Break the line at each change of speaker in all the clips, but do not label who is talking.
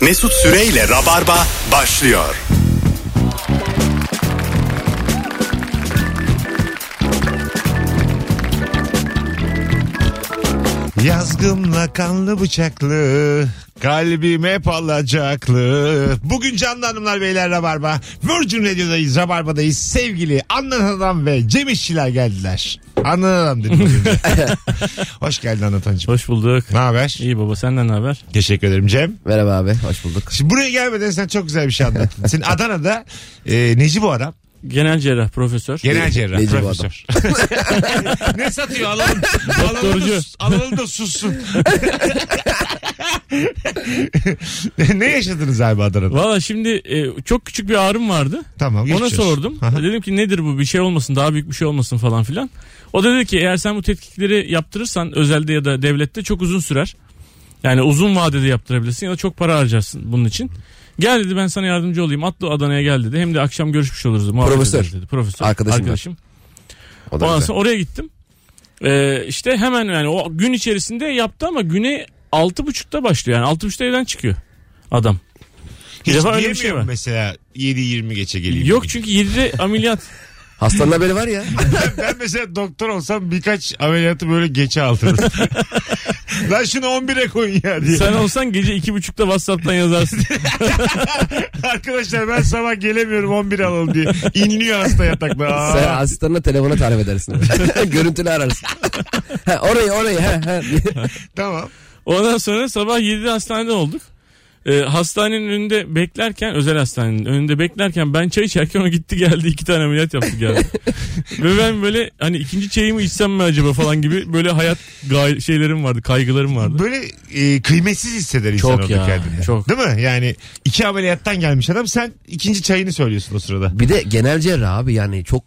Mesut Süreyle Rabarba başlıyor.
Yazgımla kanlı bıçaklı Kalbim hep alacaklı. Bugün canlı hanımlar beyler Rabarba. Virgin Radio'dayız Rabarba'dayız. Sevgili Anlatan Adam ve Cem İşçiler geldiler. Anlatan Adam dedim. az önce. Hoş geldin Anlatancığım.
Hoş bulduk.
Ne haber?
İyi baba senden ne haber?
Teşekkür ederim Cem.
Merhaba abi hoş bulduk.
Şimdi buraya gelmeden sen çok güzel bir şey anlattın. Senin Adana'da e, neci bu adam?
Genel cerrah profesör.
Genel cerrah.
Neci bu
profesör. ne satıyor alalım. Alalım da,
Doktorcu.
alalım da sussun. ne yaşadınız abi Adana'da?
Valla şimdi e, çok küçük bir ağrım vardı.
Tamam
Ona
geçiyoruz.
sordum.
Aha.
Dedim ki nedir bu bir şey olmasın daha büyük bir şey olmasın falan filan. O da dedi ki eğer sen bu tetkikleri yaptırırsan özelde ya da devlette çok uzun sürer. Yani uzun vadede yaptırabilirsin ya da çok para harcarsın bunun için. Gel dedi ben sana yardımcı olayım. Atla Adana'ya gel dedi. Hem de akşam görüşmüş oluruz. muhabbet
Profesör.
ederiz dedi. Profesör.
Arkadaşım var.
Arkadaşım.
O
Ondan
da güzel.
sonra oraya gittim. Ee, işte hemen yani o gün içerisinde yaptı ama güne altı buçukta başlıyor. Yani altı buçukta evden çıkıyor adam.
Hiç
Bir defa öyle bir
diyemiyor
şey
mu
var.
mesela 7-20 geçe geleyim.
Yok çünkü 7'de ameliyat.
Hastanın haberi var ya.
Ben mesela doktor olsam birkaç ameliyatı böyle geçe aldırırım. Lan şunu 11'e koyun ya diye.
Sen olsan gece iki buçukta Whatsapp'tan yazarsın.
Arkadaşlar ben sabah gelemiyorum 11 alalım diye. İnliyor hasta yatakta. Aa.
Sen asistanına telefona tarif edersin. Görüntülü ararsın. ha, orayı orayı. Ha, ha.
Tamam.
Ondan sonra sabah 7'de hastanede olduk. Ee, hastanenin önünde beklerken özel hastanenin önünde beklerken ben çay içerken o gitti geldi iki tane ameliyat yaptı geldi. Ve ben böyle hani ikinci çayımı içsem mi acaba falan gibi böyle hayat gay- şeylerim vardı kaygılarım vardı.
Böyle e, kıymetsiz hisseder insan
Çok
orada
ya,
kendini.
çok.
Değil mi? Yani iki ameliyattan gelmiş adam sen ikinci çayını söylüyorsun o sırada.
bir de genel cerrah abi yani çok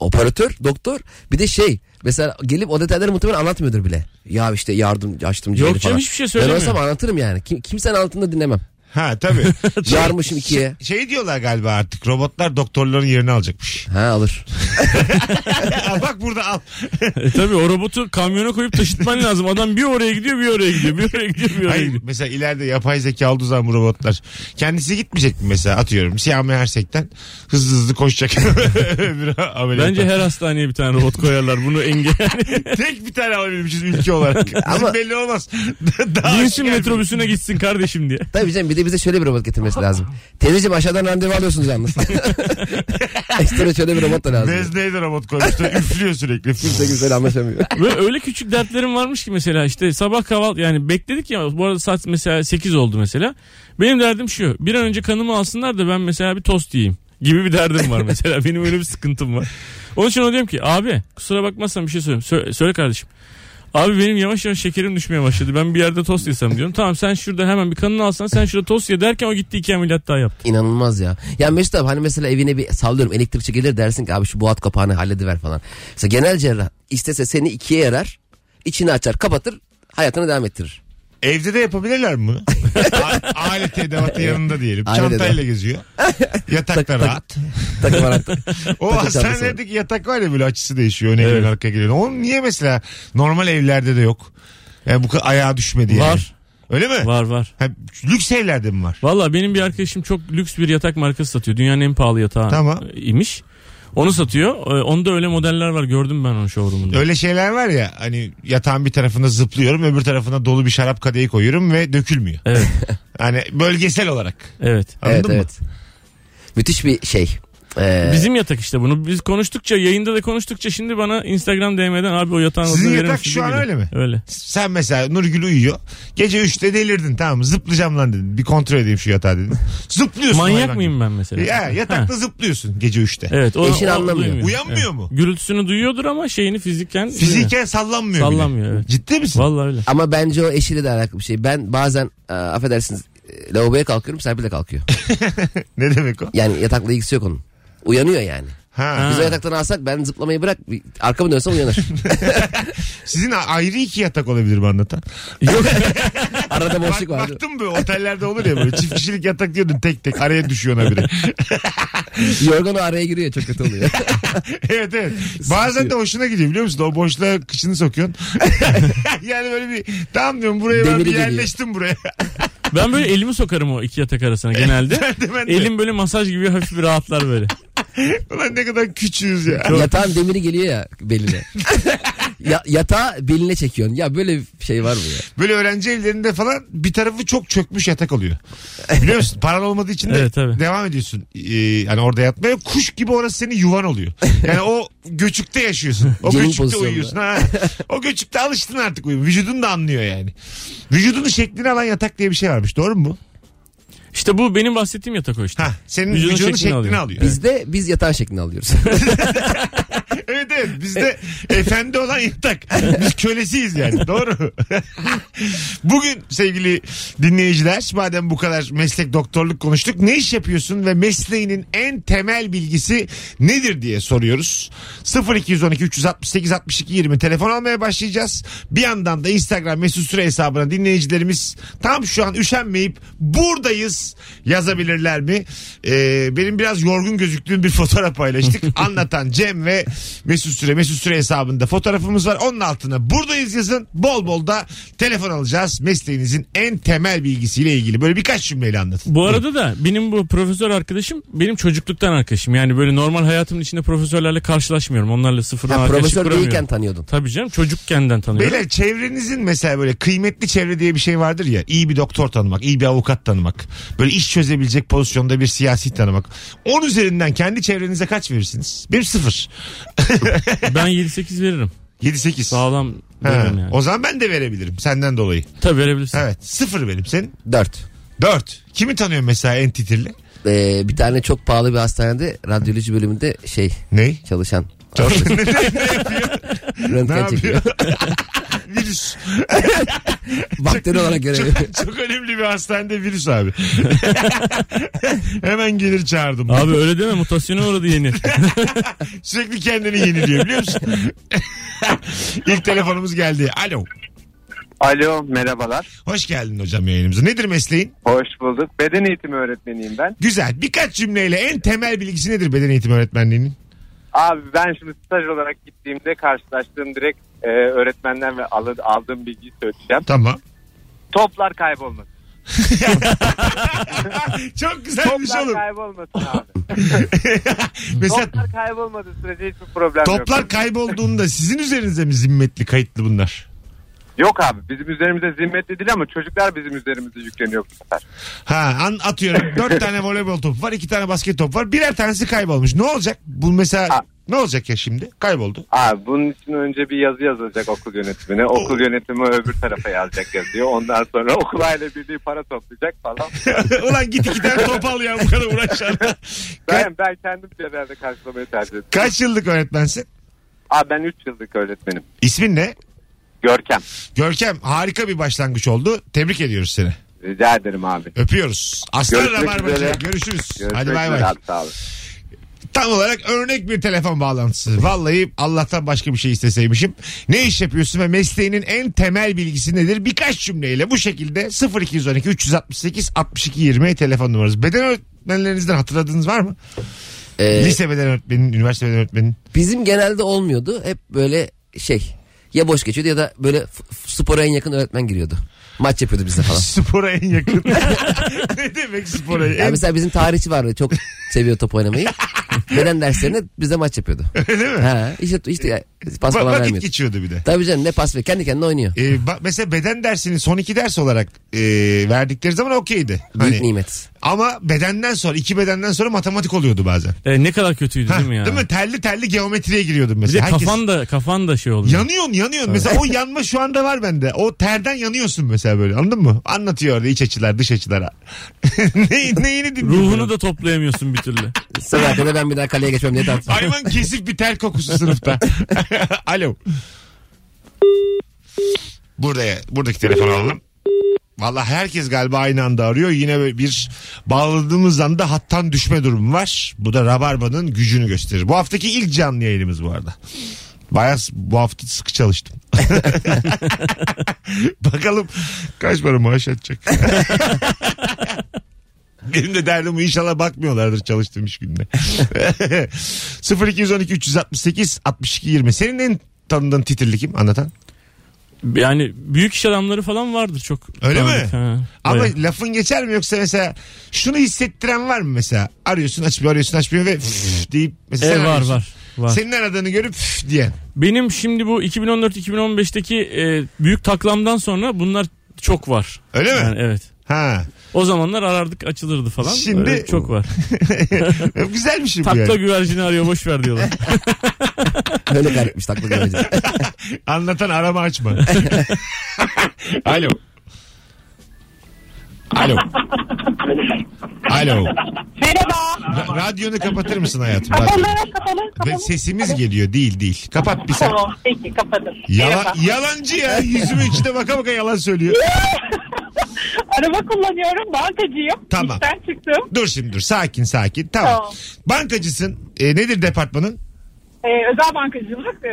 operatör, doktor. Bir de şey mesela gelip o detayları muhtemelen anlatmıyordur bile. Ya işte yardım açtım
Yok
ciğeri
canım,
falan.
hiçbir şey
Ben
söylemiyor.
olsam anlatırım yani. Kim, kimsenin altında dinlemem.
Ha tabii.
Yarmışım ikiye.
şey diyorlar galiba artık robotlar doktorların yerini alacakmış.
şey-
Ha alır.
Aa, bak burada al.
E tabii o robotu kamyona koyup taşıtman lazım. Adam bir oraya gidiyor bir oraya gidiyor bir oraya gidiyor bir oraya
Hayır,
gidiyor.
mesela ileride yapay zeka olduğu zaman bu robotlar kendisi gitmeyecek mi mesela atıyorum siyah mehersekten hızlı hızlı koşacak bir ameliyat.
Bence her hastaneye bir tane robot koyarlar bunu engel.
Tek bir tane alabilmişiz ülke olarak. Bizim
Ama-
belli olmaz. Daha
Binsin
gelmedik.
metrobüsüne gitsin kardeşim diye.
Tabii canım bir de bize şöyle bir robot getirmesi lazım. Teyzeciğim aşağıdan randevu alıyorsunuz yalnız. Ekstra şöyle bir robot da lazım.
Nezleyi de robot koymuştu. Üflüyor sürekli.
Kimse kimseyle anlaşamıyor.
Ve öyle küçük dertlerim varmış ki mesela işte sabah kahvaltı yani bekledik ya bu arada saat mesela 8 oldu mesela. Benim derdim şu bir an önce kanımı alsınlar da ben mesela bir tost yiyeyim gibi bir derdim var mesela benim öyle bir sıkıntım var. Onun için ona diyorum ki abi kusura bakmazsan bir şey söyleyeyim Sö- söyle kardeşim. Abi benim yavaş yavaş şekerim düşmeye başladı. Ben bir yerde tost yesem diyorum. Tamam sen şurada hemen bir kanını alsan sen şurada tost ye derken o gitti iki ameliyat daha yaptı.
İnanılmaz ya. Ya Mesut abi hani mesela evine bir sallıyorum elektrikçi gelir dersin ki abi şu buhat kapağını hallediver falan. Mesela genel cerrah istese seni ikiye yarar. içini açar kapatır hayatını devam ettirir.
Evde de yapabilirler mi? bunu? A- Alet edevatı yanında diyelim.
Alet
Çantayla
edevat.
geziyor. Yatakta
Tak, tak.
rahat.
Takım hayatta.
O
Takım çantası var.
hastanedeki yatak var ya böyle açısı değişiyor. Öne gelen
Evet.
arkaya geliyor. Onun niye mesela normal evlerde de yok? Yani bu kadar ayağa düşmedi yani.
Var.
Öyle mi?
Var var.
Ha, lüks evlerde mi var?
Valla benim bir arkadaşım çok lüks bir yatak markası satıyor. Dünyanın en pahalı yatağı
Tamam.
imiş. Onu satıyor. Ee, Onda öyle modeller var. Gördüm ben onu showroom'unda.
Öyle şeyler var ya hani yatağın bir tarafına zıplıyorum öbür tarafına dolu bir şarap kadehi koyuyorum ve dökülmüyor.
Evet.
Hani bölgesel olarak.
Evet.
Anladın
evet
mı?
evet. Müthiş bir şey. Ee,
Bizim yatak işte bunu. Biz konuştukça yayında da konuştukça şimdi bana Instagram DM'den abi o yatağın
Sizin
adını verir
yatak
misin?"
şu an
diyor.
öyle mi?
Öyle.
Sen mesela Nurgül uyuyor. Gece 3'te delirdin tamam mı? zıplayacağım lan dedin. Bir kontrol edeyim şu yatağı dedin. Zıplıyorsun.
Manyak
hayvan
mıyım ben mesela?
gibi. Ya, yatakta
Ha.
zıplıyorsun gece 3'te.
Evet. O,
Eşin
o
anlamıyor.
duymuyor.
Uyanmıyor
Evet.
mu?
Gürültüsünü duyuyordur ama şeyini fiziken.
Fiziken sallanmıyor bile.
Sallanmıyor, evet.
Ciddi misin?
Valla öyle.
ama bence o eşiyle de alakalı bir şey. Ben bazen e, affedersiniz e, lavaboya kalkıyorum Serpil de kalkıyor.
Ne demek o?
Yani yatakla ilgisi yok onun. Uyanıyor yani.
Ha.
Biz o yataktan alsak ben zıplamayı bırak bir- arkamı dönsem uyanır.
Sizin a- ayrı iki yatak olabilir mi anlatan?
Arada boşluk
Bak,
var.
baktım böyle otellerde olur ya böyle çift kişilik yatak diyordun tek tek araya düşüyor ona biri.
Yorgan o araya giriyor çok kötü oluyor.
evet evet. Bazen de hoşuna gidiyor biliyor musun? O boşluğa kışını sokuyorsun. yani böyle bir tamam diyorum buraya ben
Demiri
bir
geliyor.
yerleştim buraya.
Ben böyle elimi sokarım o iki yatak arasına genelde.
Ben de ben de.
Elim böyle masaj gibi hafif bir rahatlar böyle.
Ulan ne kadar küçüğüz ya.
Yatağın demiri geliyor ya beline. ya, yatağı beline çekiyorsun. Ya böyle bir şey var mı ya?
Böyle öğrenci evlerinde falan bir tarafı çok çökmüş yatak oluyor. Biliyor musun? Paran olmadığı için de
Evet, tabii.
devam ediyorsun. Ee, hani orada yatmaya kuş gibi orası senin yuvan oluyor. Yani o göçükte yaşıyorsun. O
Cenin
göçükte
pozisyonda.
uyuyorsun. Ha. O göçükte alıştın artık uyum. Vücudun da anlıyor yani. Vücudunun şeklini alan yatak diye bir şey varmış. Doğru mu?
İşte bu benim bahsettiğim yatak o işte.
Ha, senin
Vücudun
vücudunun şeklini,
şeklini
alıyor.
alıyor.
Bizde biz yatağın şeklini alıyoruz.
Evet evet bizde efendi olan yatak. Biz kölesiyiz yani doğru. Bugün sevgili dinleyiciler madem bu kadar meslek doktorluk konuştuk ne iş yapıyorsun ve mesleğinin en temel bilgisi nedir diye soruyoruz. 0212 368 62 20 telefon almaya başlayacağız. Bir yandan da Instagram mesut süre hesabına dinleyicilerimiz tam şu an üşenmeyip buradayız yazabilirler mi? Ee, benim biraz yorgun gözüktüğüm bir fotoğraf paylaştık. Anlatan Cem ve Mesut Süre Mesut Süre hesabında fotoğrafımız var. Onun altına buradayız yazın. Bol bol da telefon alacağız. Mesleğinizin en temel bilgisiyle ilgili. Böyle birkaç cümleyle anlatın.
Bu arada da benim bu profesör arkadaşım benim çocukluktan arkadaşım. Yani böyle normal hayatımın içinde profesörlerle karşılaşmıyorum. Onlarla sıfırdan
ha,
arkadaşlık
profesör
kuramıyorum.
değilken tanıyordun.
Tabii canım çocukkenden tanıyorum.
Beyler çevrenizin mesela böyle kıymetli çevre diye bir şey vardır ya. İyi bir doktor tanımak, iyi bir avukat tanımak. Böyle iş çözebilecek pozisyonda bir siyasi tanımak. 10 üzerinden kendi çevrenize kaç verirsiniz? Benim sıfır.
Ben 7-8 veririm.
7-8.
Sağlam
Ha,
veririm yani.
O zaman ben de verebilirim senden dolayı.
Tabii verebilirsin.
Evet. Sıfır benim senin.
Dört.
Dört. Kimi tanıyorsun mesela en titirli?
Ee, bir tane çok pahalı bir hastanede radyoloji bölümünde şey
Ney?
çalışan.
ne, ne, ne
Röntgen çekiyor.
yapıyor? virüs.
Bakteri olarak görev
Çok, çok önemli bir hastanede virüs abi. Hemen gelir çağırdım.
Abi öyle deme mutasyona uğradı yeni.
Sürekli kendini yeniliyor biliyor musun? İlk telefonumuz geldi. Alo.
Alo merhabalar.
Hoş geldin hocam yayınımıza. Nedir mesleğin?
Hoş bulduk. Beden eğitimi öğretmeniyim ben.
Güzel. Birkaç cümleyle en temel bilgisi nedir beden eğitimi öğretmenliğinin?
Abi ben şimdi staj olarak gittiğimde karşılaştığım direkt e, öğretmenden ve alı- aldığım bilgiyi söyleyeceğim.
Tamam.
Toplar kaybolmasın.
Çok güzelmiş
Toplar
oğlum.
kaybolmasın abi.
Mesela
Toplar kaybolmadığı sürece hiçbir problem yok.
toplar kaybolduğunda sizin üzerinize mi zimmetli kayıtlı bunlar?
Yok abi bizim üzerimize zimmetli değil ama çocuklar bizim üzerimize yükleniyor bu sefer.
Ha an atıyorum. Dört tane voleybol topu var. iki tane basket topu var. Birer tanesi kaybolmuş. Ne olacak? Bu mesela
Ha.
ne olacak ya şimdi? Kayboldu.
Abi bunun için önce bir yazı yazılacak okul yönetimine.
Oh.
Okul yönetimi öbür tarafa yazacak yazıyor. Ondan sonra okul aile birliği para toplayacak falan.
Ulan git iki tane top al ya bu kadar uğraşan. Ka-
Ben, ben kendim herhalde karşılamayı tercih ettim.
kaç yıllık öğretmensin?
Abi ben 3 yıllık öğretmenim.
İsmin ne?
Görkem.
Görkem harika bir başlangıç oldu. Tebrik ediyoruz seni.
Rica ederim abi.
Öpüyoruz. Aslan
Görüşmek üzere.
Rabarbacı. Görüşürüz.
Görüşmek
Hadi bay
üzere
bay.
abi, sağ olun.
Tam olarak örnek bir telefon bağlantısı. Vallahi Allah'tan başka bir şey isteseymişim. Ne iş yapıyorsun ve mesleğinin en temel bilgisi nedir? Birkaç cümleyle bu şekilde 0212 368 62 20 telefon numaranız. Beden öğretmenlerinizden hatırladığınız var mı?
Ee,
Lise beden öğretmeninin, üniversite beden öğretmeninin.
Bizim genelde olmuyordu. Hep böyle şey ya boş geçiyordu ya da böyle f- f- spora en yakın öğretmen giriyordu. Maç yapıyordu bize falan.
Spora en yakın. ne demek spora en
Yani mesela bizim tarihçi vardı çok seviyor top oynamayı. Beden derslerinde bize maç yapıyordu.
Öyle mi?
Ha, işte, işte ya, pas
Va-
falan
vakit
vermiyordu.
geçiyordu bir de.
Tabii canım ne pas ver kendi kendine oynuyor.
Ee, ba- mesela beden dersini son iki ders olarak e, verdikleri zaman okeydi.
Büyük
Hani,
nimet.
ama bedenden sonra iki bedenden sonra matematik oluyordu bazen.
E, ne kadar kötüydü değil mi
Ha,
ya?
Değil mi? Telli telli geometriye giriyordum
Bir de
mesela. Herkes-
kafan da kafan da şey oldu.
Yanıyorsun yanıyorsun. Mesela o yanma şu anda var bende. O terden yanıyorsun mesela böyle anladın mı? Anlatıyor orada iç açılar dış açılar. ne, neyini dinliyorsun?
Ruhunu da toplayamıyorsun bir türlü.
Sen arkada ben bir daha kaleye geçmem diye tartışıyor.
Hayvan kesif bir ter kokusu sınıfta. Alo. Buraya, buradaki telefonu alalım. Valla herkes galiba aynı anda arıyor. Yine böyle bir bağladığımız anda hattan düşme durumu var. Bu da Rabarba'nın gücünü gösterir. Bu haftaki ilk canlı yayınımız bu arada. Bayağı s- bu hafta sıkı çalıştım. Bakalım kaç para maaş atacak. Benim de derdim bu inşallah bakmıyorlardır çalıştığım iş gününe. 0212 368 62 20. Senin en tanıdığın titirli kim anlatan?
Yani büyük iş adamları falan vardır çok.
Öyle mi?
tanıdık. Ha,
Ama
bayağı.
lafın geçer mi yoksa mesela şunu hissettiren var mı mesela? Arıyorsun açmıyor arıyorsun açmıyor ve üf deyip mesela sen
E, var
arıyorsun.
var. var.
Senin aradığını görüp üf diyen.
Benim şimdi bu 2014-2015'teki e, büyük taklamdan sonra bunlar çok var.
Öyle mi?
Yani evet.
Ha.
O zamanlar arardık açılırdı falan.
Şimdi-
Öyle çok var.
Güzel bir şey bu
Takla
yani.
güvercini arıyor boş ver diyorlar.
Öyle garipmiş takla göreceğiz.
Anlatan arama açma. Alo. Alo. Alo.
Merhaba.
Ra- radyonu kapatır mısın hayatım? Radyo.
Kapalı, kapalı.
Ve
kapalı.
sesimiz geliyor değil değil. Kapat bir sen.
Tamam, peki kapadım.
Yala,
Merhaba.
yalancı ya. Yüzümü içine baka baka yalan söylüyor.
Araba kullanıyorum, bankacıyım.
Tamam.
İşten çıktım.
Dur şimdi dur. Sakin sakin. Tamam.
Tamam.
Bankacısın. E, nedir departmanın?
Ee, özel bankacılık, e,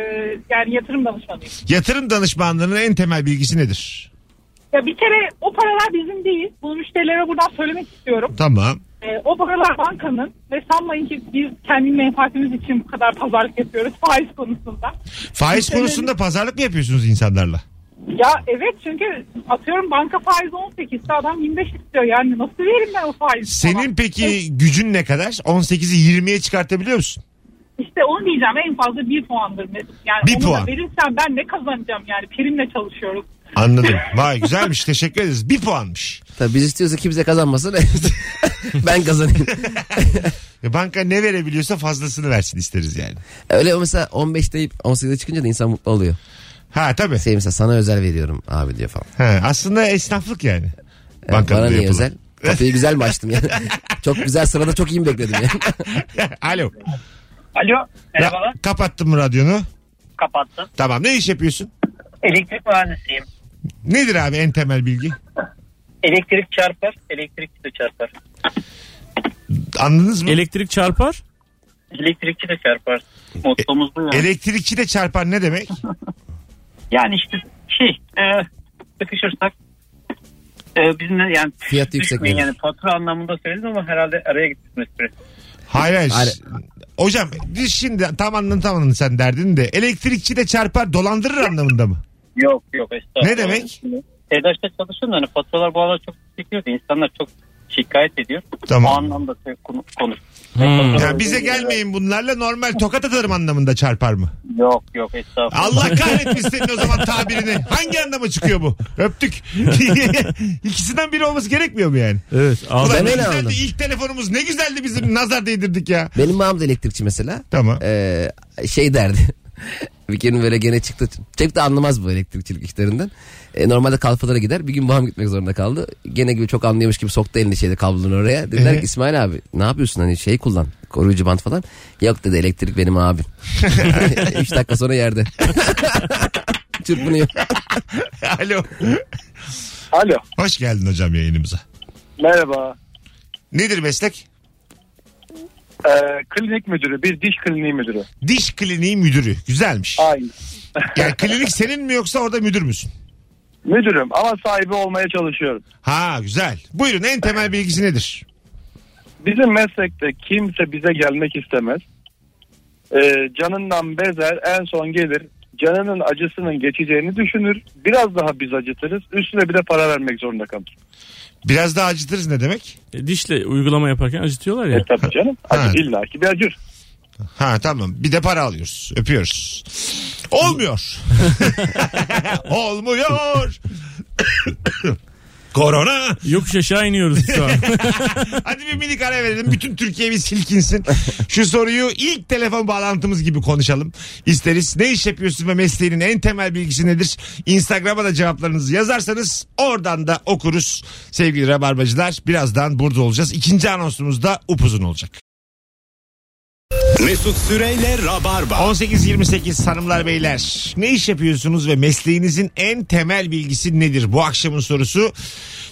yani yatırım danışmanıyım.
Yatırım danışmanlığının en temel bilgisi nedir?
Ya bir kere o paralar bizim değil. Bunu müşterilere buradan söylemek istiyorum.
Tamam.
Ee, o paralar bankanın ve sanmayın ki biz kendi menfaatimiz için bu kadar pazarlık yapıyoruz faiz konusunda.
Faiz konusunda pazarlık mı yapıyorsunuz insanlarla?
Ya evet çünkü atıyorum banka faizi 18 ise adam 25 istiyor. Yani nasıl veririm ben o faizi?
Senin
falan?
peki gücün ne kadar? 18'i 20'ye çıkartabiliyor musun?
İşte onu diyeceğim en fazla bir puandır Mesut. Yani
Bir
onu
puan.
da verirsen ben ne kazanacağım yani primle çalışıyoruz.
Anladım. Vay güzelmiş. Teşekkür ederiz. Bir puanmış.
Tabii biz istiyorsa kimse kazanmasın. ben kazanayım.
E, Banka ne verebiliyorsa fazlasını versin isteriz yani.
Öyle mesela 15 deyip 18'e çıkınca da insan mutlu oluyor.
Ha tabii.
Şey mesela sana özel veriyorum abi diyor falan.
Ha, aslında esnaflık yani.
Evet,
Bankanın
bana
da
niye
yapılan.
özel? Kapıyı güzel mi açtım yani? çok güzel sırada çok iyi mi bekledim yani?
Alo.
Alo, merhabalar.
Ra- kapattın mı radyonu?
Kapattım.
Tamam. Ne iş yapıyorsun?
Elektrik mühendisiyim.
Nedir abi en temel bilgi?
Elektrik çarpar, elektrikçi de çarpar.
Anladınız mı?
Elektrik çarpar.
Elektrikçi de çarpar. Mottomuz bu
E,
ya.
Elektrikçi de çarpar ne demek?
Yani işte şey, e, sıkışırsak e, bizim de yani
Fiyatı yüksek
düşmeyin
gelir.
yani fatura anlamında söyledim ama herhalde araya gittim espri.
Hayır hayır.
Hayır.
Hocam biz şimdi tam anladın tam anladın sen derdini de elektrikçi de çarpar dolandırır anlamında mı?
Yok yok estağfurullah.
Ne demek?
Evdaş'ta çalışıyorum da hani faturalar bu aralar çok yükseliyor da insanlar çok şikayet ediyor.
Tamam.
O anlamda şey- konu- konuş.
Hmm.
Ya bize gelmeyin bunlarla normal tokat atarım anlamında çarpar mı?
Yok yok estağfurullah.
Allah kahretmiş senin o zaman tabirini. Hangi anlama çıkıyor bu? Öptük. İkisinden biri olması gerekmiyor mu yani?
Evet. al-
Ulan
Ben
ne
öyle
güzeldi
anladım.
ilk telefonumuz ne güzeldi bizim nazar değdirdik ya.
Benim babam da elektrikçi mesela.
Tamam.
Ee, şey derdi. bir gün böyle gene çıktı. Pek de anlamaz bu elektrikçilik işlerinden. Ee, normalde kalfalara gider. Bir gün babam gitmek zorunda kaldı. Gene gibi çok anlıyormuş gibi soktu elini şeyde kablonu oraya. Dediler
Ee?
ki İsmail abi ne yapıyorsun hani şey kullan. Koruyucu bant falan. Yok dedi elektrik benim abim. Üç dakika sonra yerde. Çırpınıyor.
Alo.
Alo
Hoş geldin hocam yayınımıza.
merhaba.
Nedir meslek?
Ee, klinik müdürü bir diş kliniği müdürü.
Diş kliniği müdürü. Güzelmiş.
Aynen.
Yani klinik senin mi yoksa orada müdür müsün?
Müdürüm ama sahibi olmaya çalışıyorum.
Ha güzel. Buyurun en temel bilgisi nedir?
Bizim meslekte kimse bize gelmek istemez. Ee, canından bezer en son gelir. Canının acısının geçeceğini düşünür. Biraz daha biz acıtırız. Üstüne bir de para vermek zorunda kalır.
Biraz daha acıtırız ne demek?
E, Dişle uygulama yaparken acıtıyorlar
E
ya.
tabii canım.
Ha.
Acı illa ki bir acır.
Ha tamam bir de para alıyoruz öpüyoruz. Olmuyor. Olmuyor. Korona.
Yokuş aşağı iniyoruz şu an.
Hadi bir minik ara verelim. Bütün Türkiye bir silkinsin. Şu soruyu ilk telefon bağlantımız gibi konuşalım. İsteriz. Ne iş yapıyorsun ve mesleğinin en temel bilgisi nedir? Instagram'a da cevaplarınızı yazarsanız oradan da okuruz. Sevgili Rabarbacılar birazdan burada olacağız. İkinci anonsumuz da upuzun olacak.
Mesut Süreyle Rabarba.
18-28 hanımlar beyler ne iş yapıyorsunuz ve mesleğinizin en temel bilgisi nedir bu akşamın sorusu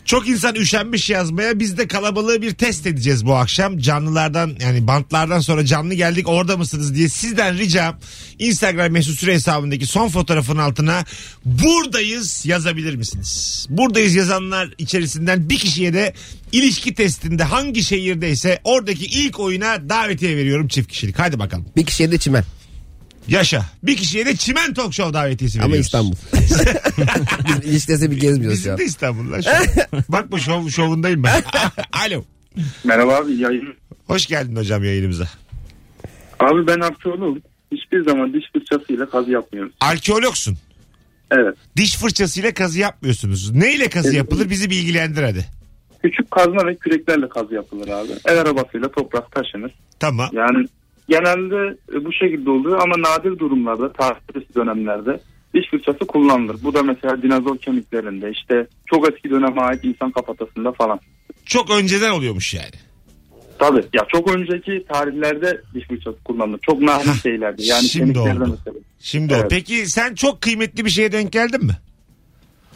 çok insan üşenmiş yazmaya biz de kalabalığı bir test edeceğiz bu akşam canlılardan yani bantlardan sonra canlı geldik orada mısınız diye sizden ricam instagram mesut süre hesabındaki son fotoğrafın altına buradayız yazabilir misiniz buradayız yazanlar içerisinden bir kişiye de ilişki testinde hangi şehirdeyse oradaki ilk oyuna davetiye veriyorum çift kişilik hadi bakalım
Bir kişiye de çimen.
Yaşa. Bir kişiye de Çimen Talk Show davetiyesi
Ama
veriyoruz.
İstanbul. Biz ilişkilese bir gezmiyoruz şu
Bizim
an.
de İstanbul'da şu an. Bak bu şov, şovundayım ben. Alo.
Merhaba abi yayın.
Hoş geldin hocam yayınımıza.
Abi ben arkeoloğum. Hiçbir zaman diş fırçasıyla kazı yapmıyorum.
Arkeologsun.
Evet.
Diş fırçasıyla kazı yapmıyorsunuz. Neyle kazı
Evet.
yapılır bizi bilgilendir hadi.
Küçük kazma ve küreklerle kazı yapılır abi. El arabasıyla toprak taşınır.
Tamam.
Yani genelde e, bu şekilde oluyor ama nadir durumlarda tarihsel dönemlerde diş fırçası kullanılır. Bu da mesela dinozor kemiklerinde işte çok eski döneme ait insan kafatasında falan.
Çok önceden oluyormuş yani.
Tabii ya çok önceki tarihlerde diş fırçası kullanılır. Çok nadir şeylerde yani
şimdi
kemiklerde
oldu.
mesela.
Şimdi o.
Evet.
Peki sen çok kıymetli bir şeye denk geldin mi?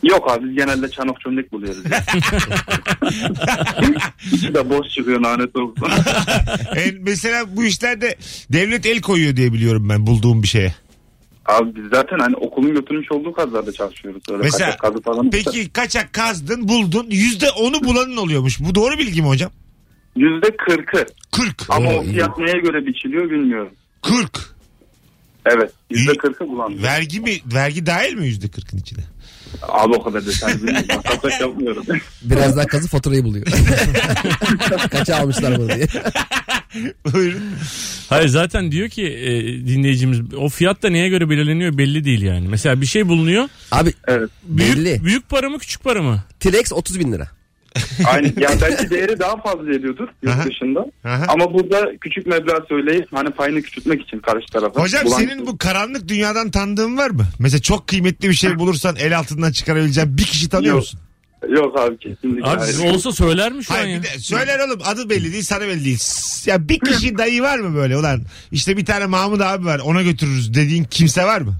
Yok abi biz genelde çanak çömlek buluyoruz. İkisi de boş çıkıyor lanet olsun.
E, mesela bu işlerde devlet el koyuyor diye biliyorum ben bulduğum bir şeye.
Abi biz zaten hani okulun götürmüş olduğu kazlarda çalışıyoruz. Öyle
Mesela
kaçak kazı falan.
peki kaçak kazdın buldun yüzde onu bulanın oluyormuş. Bu doğru bilgi mi hocam?
Yüzde kırkı.
40.
Ama
Oo,
o
iyi.
fiyat neye göre biçiliyor bilmiyorum.
40.
Evet. Yüzde
İyi.
kırkı bulandı.
Vergi mi? Vergi dahil mi yüzde 40'ın içine?
Abi o kadar desen bilmiyorum. Ben kaçak yapmıyorum.
Biraz daha kazı faturayı buluyor. Kaça almışlar bunu diye.
Buyurun.
Hayır zaten diyor ki e, dinleyicimiz o fiyat da neye göre belirleniyor belli değil yani. Mesela bir şey bulunuyor.
Abi
Evet.
Büyük,
belli.
büyük para mı küçük para mı?
T-Rex 30 bin lira.
Aynı. Yani belki değeri daha fazla ediyordur
Aha.
yurt dışında.
Aha.
Ama burada küçük meblağ söyleyip hani payını küçültmek için karşı tarafa.
Hocam
Bulan-
senin bu karanlık dünyadan tanıdığın var mı? Mesela çok kıymetli bir şey bulursan el altından çıkarabileceğin bir kişi tanıyor
Yok.
musun?
Yok abi kesinlikle.
Abi
hayır.
siz olsa söyler mi şu an
Hayır
ya?
bir de söyler oğlum adı belli değil sana belli değil. S- Ya bir kişi dayı var mı böyle ulan işte bir tane Mahmut abi var ona götürürüz dediğin kimse var mı?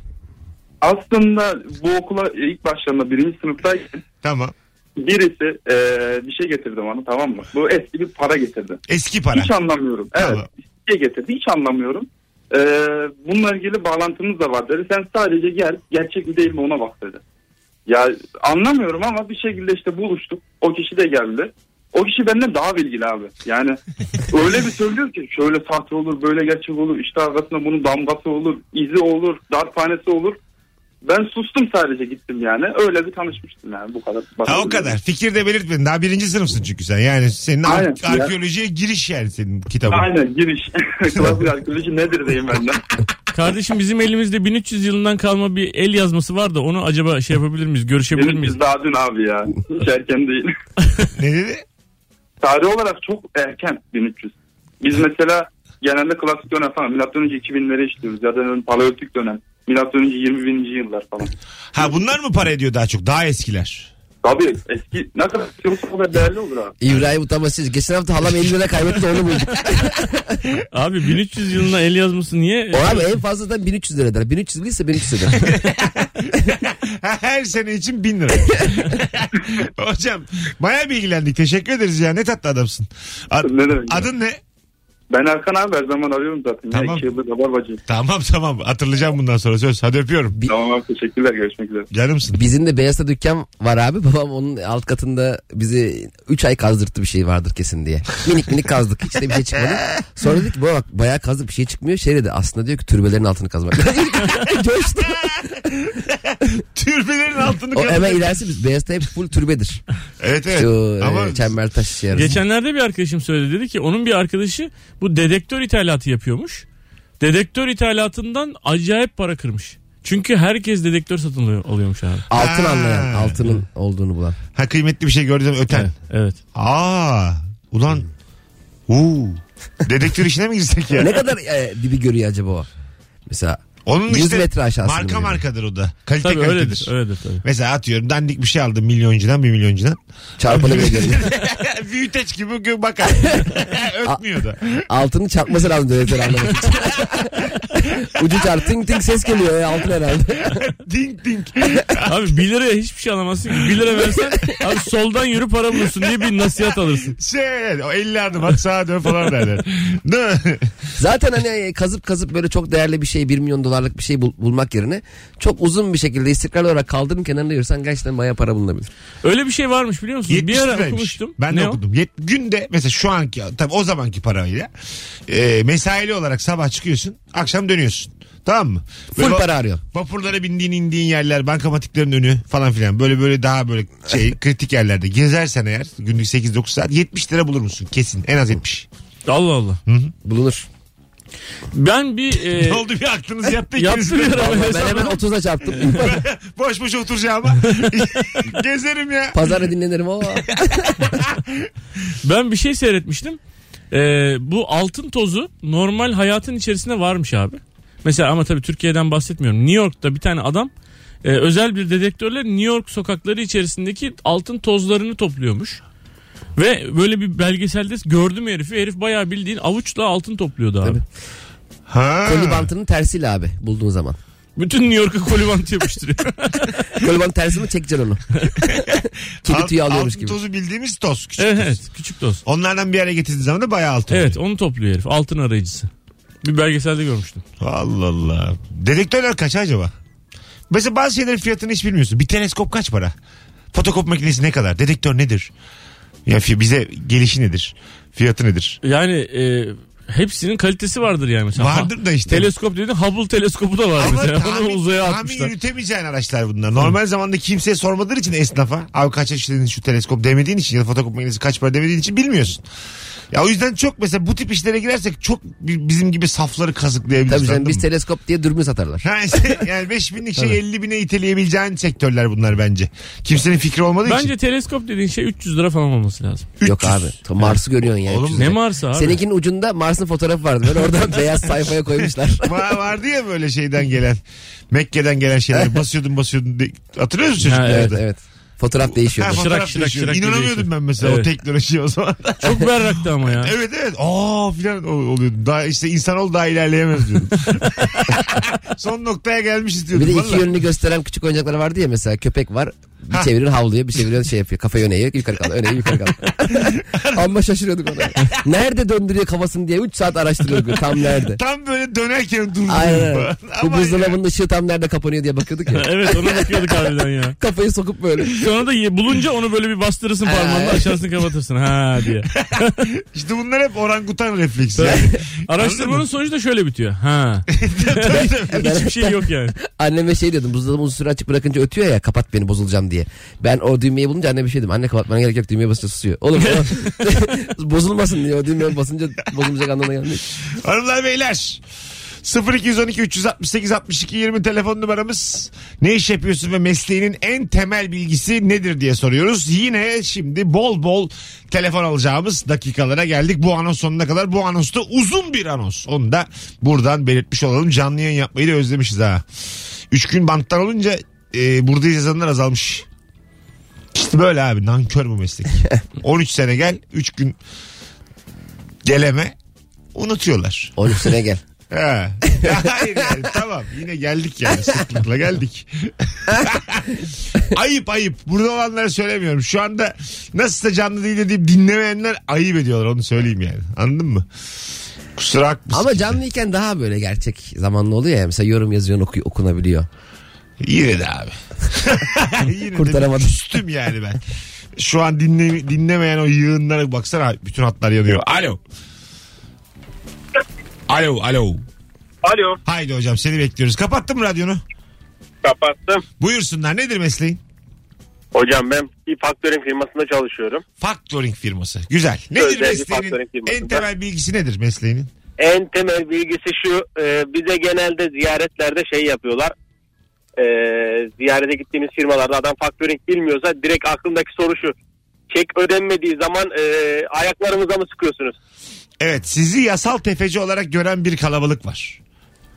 Aslında bu okula ilk başlarında birinci sınıftayken
Tamam.
birisi eee, bir şey getirdi bana tamam mı? Bu eski bir para getirdi.
Eski para.
Hiç anlamıyorum. Evet.
Tamam.
Bir şey getirdi. Hiç anlamıyorum. Eee bununla ilgili bağlantımız da var dedi. Sen sadece gel. Gerçek mi değil mi ona bak dedi. Ya anlamıyorum ama bir şekilde işte buluştuk. O kişi de geldi. O kişi benden daha bilgili abi. Yani öyle bir söylüyor ki şöyle sahte olur, böyle gerçek olur. İşte arkasında bunun damgası olur, izi olur, darphanesi olur. Ben sustum sadece gittim yani. Öyle bir tanışmıştım yani bu kadar.
Ha o kadar. Fikir de belirtmedin. Daha birinci sınıfsın çünkü sen. Yani senin ar-
Aynen. Ya.
arkeolojiye giriş yani senin kitabın.
Aynen giriş. Klasik arkeoloji nedir diyeyim ben de.
Kardeşim bizim elimizde 1300 yılından kalma bir el yazması var da onu acaba şey yapabilir miyiz? Görüşebilir
Benim
miyiz?
biz daha dün abi ya. Hiç erken değil.
Ne dedi?
Tarih olarak çok erken 1300. Biz mesela genelde klasik dönem falan. Milattan önce 2000'lere işliyoruz. Ya da paleolitik dönem. Milattan önce 20 bininci yıllar falan.
Ha bunlar mı para ediyor daha çok? Daha eskiler.
Tabii eski ne kadar istiyorsa o kadar değerli olur abi.
İbrahim utanmasız. Geçen hafta halam 50 lira kaybetti de onu bulduk.
Abi 1300 yılına el yazması niye?
O abi en fazla da 1300 lira eder. 1300 liraysa 1300 lira.
Her sene için bin lira. Hocam baya bilgilendik. Teşekkür ederiz ya. Ne tatlı adamsın. Ad-
Ne demek ya?
adın ne?
Ben Erkan abi her zaman arıyorum zaten.
Tamam.
Ya, iki yıldır rabarbacıyım.
Tamam tamam. Hatırlayacağım bundan sonra söz. Hadi öpüyorum.
Tamam abi teşekkürler görüşmek üzere.
Canımsın.
Bizim de Beyaz'da dükkan var abi. Babam onun alt katında bizi 3 ay kazdırttı bir şey vardır kesin diye. Minik minik kazdık. Hiç de bir şey çıkmadı. Sonra dedik ki baba bak bayağı kazdık bir şey çıkmıyor. Şey dedi aslında diyor ki türbelerin altını kazmak. Coştu.
Türbelerin altını
O
kazıdı.
hemen ilerisi biz Beyaz'da hep full türbedir.
Evet evet.
Şu
Ama
e, Çembertaş şey arası.
Geçenlerde bir arkadaşım söyledi dedi ki onun bir arkadaşı bu dedektör ithalatı yapıyormuş. Dedektör ithalatından acayip para kırmış. Çünkü herkes dedektör satın alıyor- alıyormuş abi.
Altın
Ha.
anlayan, altının olduğunu bulan.
ha kıymetli bir şey gördüm öten.
Evet.
Aa. Ulan. Uuu. Dedektör işine mi girsek ya?
Ne kadar e, dibi görüyor acaba o? Mesela
Onun
100
işte
metre aşağısını
marka
biliyorum.
markadır o da. Kalite
Tabii
kalitedir.
öyledir. Öyledir tabii.
Mesela atıyorum dandik bir şey aldım milyoncudan bir milyoncudan.
çarpanı bile görüyor.
Büyüteç gibi gö- bakar. Ötmüyor da.
Altını çarpması lazım direktör anlamak için. Ucu çarp ting ting ses geliyor ya altın herhalde.
Ding ding.
Abi 1 liraya hiçbir şey alamazsın. ki. 1 lira versen abi soldan yürü para bulursun diye bir nasihat alırsın.
Şey o 50 adım at sağa dön falan derler. Değil mi?
Zaten hani e, kazıp kazıp böyle çok değerli bir şey 1 milyon dolarlık bir şey bul- bulmak yerine çok uzun bir şekilde istikrarlı olarak kaldırım kenarında yürürsen gerçekten bayağı para bulunabilir.
Öyle bir şey varmış biliyor musunuz?
70
Bir ara
liraymış.
okumuştum.
Ben
Ne
de
o?
okudum. Yet, günde mesela şu anki tabii o zamanki parayla e, mesaili olarak sabah çıkıyorsun akşam dönüyorsun. Tamam mı? Böyle
Full
va-
para arıyor.
Vapurlara bindiğin indiğin yerler, bankamatiklerin önü falan filan. Böyle böyle daha böyle şey kritik yerlerde gezersen eğer günlük 8-9 saat 70 lira bulur musun kesin. En az 70.
Allah Allah.
Bulunur.
Ben bir e,
ne oldu bir aklınız yattı ikiniz de.
yaptırıyorum.
Ben hemen 30'a çarptım.
boş boş oturacağıma. Gezerim ya.
Pazarda dinlenirim. Oo.
Ben bir şey seyretmiştim. Ee, bu altın tozu normal hayatın içerisinde varmış abi. Mesela ama tabii Türkiye'den bahsetmiyorum. New York'ta bir tane adam e, özel bir dedektörle New York sokakları içerisindeki altın tozlarını topluyormuş. Ve böyle bir belgeselde gördüm herifi. Herif bayağı bildiğin avuçla altın topluyordu abi.
Tabii.
Ha.
Koli bantının tersiyle abi bulduğun zaman.
Bütün New York'a kolibant yapıştırıyor.
Koli bantının tersi mi çekeceksin onu? Kedi tüyü
Alt-
alıyormuş
altın
gibi.
tozu bildiğimiz toz. Küçük
evet,
toz.
evet küçük toz.
Onlardan bir yere getirdiğin zaman da bayağı altın.
Evet onu topluyor herif. Altın arayıcısı. Bir belgeselde görmüştüm.
Allah Allah. Dedektörler kaç acaba? Mesela bazı şeylerin fiyatını hiç bilmiyorsun. Bir teleskop kaç para? Fotokop makinesi ne kadar? Dedektör nedir? Ya fi- bize gelişi nedir? Fiyatı nedir?
Yani e, hepsinin kalitesi vardır yani. Mesela.
Vardır da işte.
Teleskop dedin Hubble teleskopu da var
Ama
mesela. Onu
tahmin,
uzaya
tahmin
atmışlar.
yürütemeyeceğin araçlar bunlar. Normal zamanda kimseye sormadığı için esnafa. Abi kaç yaşındasın şu teleskop demediğin için ya da fotokop makinesi kaç para demediğin için bilmiyorsun. Ya o yüzden çok mesela bu tip işlere girersek çok bi- bizim gibi safları kazıklayabiliriz.
Tabii
anladın
canım biz
mı?
teleskop diye dürbün satarlar.
Ha işte yani 5 binlik şey 50 bine iteleyebileceğin sektörler bunlar bence. Kimsenin fikri olmadığı için.
Bence teleskop dediğin şey 300 lira falan olması lazım.
300.
Yok abi. Ta- Mars'ı görüyorsun yani.
Oğlum,
Ne Mars'ı abi?
Seninkinin ucunda Mars'ın fotoğrafı vardı. Ben oradan beyaz sayfaya koymuşlar.
Va- vardı ya böyle şeyden gelen. Mekke'den gelen şeyler basıyordun basıyordun. de- Hatırlıyor musun
Ha,
çocuklarda?
evet evet. Fotoğraf değişiyor.
Ha, fotoğraf
Şırak, şırak,
düşüyor.
şırak diye
İnanamıyordum
değişiyor.
ben mesela o
Evet.
teknolojiye o zaman.
Çok berraktı ama ya.
evet evet. Aa filan ol- oluyordu. Daha işte insan ol daha ilerleyemez diyordum. Son noktaya gelmiş istiyordum.
Bir de iki
vallahi.
yönünü gösteren küçük oyuncaklar vardı ya mesela köpek var. Bir
Ha.
çevirir havluyor bir çevirir şey yapıyor. Kafayı öne eğiyor yukarı kaldı öne eğiyor yukarı kaldı. Amma şaşırıyorduk ona. Nerede döndürüyor kafasını diye 3 saat araştırıyorduk tam nerede.
Tam böyle dönerken durdum.
Aynen. Bu
Ama
buzdolabının ışığı tam nerede kapanıyor diye bakıyorduk ya.
evet ona bakıyorduk harbiden ya.
Kafayı sokup böyle.
Sonra da ye- bulunca onu böyle bir bastırırsın parmağınla
Ha.
aşağısını kapatırsın. Ha diye.
işte bunlar hep orangutan refleksi. Yani.
Araştırmanın sonucu da şöyle bitiyor. Ha. Hiçbir şey yok yani.
Anneme şey diyordum buzdolabı uzun süre açık bırakınca ötüyor ya kapat beni bozulacağım diye. Ben o düğmeyi bulunca anneme şey dedim anne kapatmana gerek yok düğmeye basınca susuyor. Oğlum o bozulmasın diye o düğmeye basınca bozulmayacak anlamına gelmiyor.
Hanımlar beyler 0212 368 62 20 telefon numaramız. Ne iş yapıyorsun ve mesleğinin en temel bilgisi nedir diye soruyoruz. Yine şimdi bol bol telefon alacağımız dakikalara geldik. Bu anons sonuna kadar bu anons da uzun bir anons. Onu da buradan belirtmiş olalım. Canlı yayın yapmayı da özlemişiz ha. 3 gün banttan olunca e, buradayız yazanlar azalmış. İşte böyle abi nankör bu meslek. 13 sene gel 3 gün geleme unutuyorlar.
13 sene gel.
He. Hayır yani, tamam yine geldik yani sıklıkla geldik. ayıp ayıp. Burada olanları söylemiyorum. Şu anda nasılsa canlı değil deyip dinlemeyenler ayıp ediyorlar onu söyleyeyim yani. Anladın mı? Kusura bakmasın.
Ama canlıyken daha böyle gerçek zamanlı oluyor ya. Mesela yorum yazıyorsun oku- okunabiliyor.
Yine de abi. yine
Kurtaramadım.
de üstüm yani ben. Şu an dinle, dinlemeyen o yığınlara baksana bütün hatlar yanıyor. Alo. Alo alo.
Alo
Haydi hocam seni bekliyoruz. Kapattın mı radyonu?
kapattım.
Buyursunlar nedir mesleğin?
Hocam ben bir faktörün firmasında çalışıyorum.
Factoring firması. Güzel. Nedir
Özel bir
mesleğinin
factoring firması.
en temel bilgisi nedir mesleğinin?
En temel bilgisi şu e, bize genelde ziyaretlerde şey yapıyorlar. E, ziyarete gittiğimiz firmalarda adam faktörün bilmiyorsa direkt aklımdaki soru şu. Çek ödenmediği zaman e, ayaklarımıza mı sıkıyorsunuz?
Evet sizi yasal tefeci olarak gören bir kalabalık var.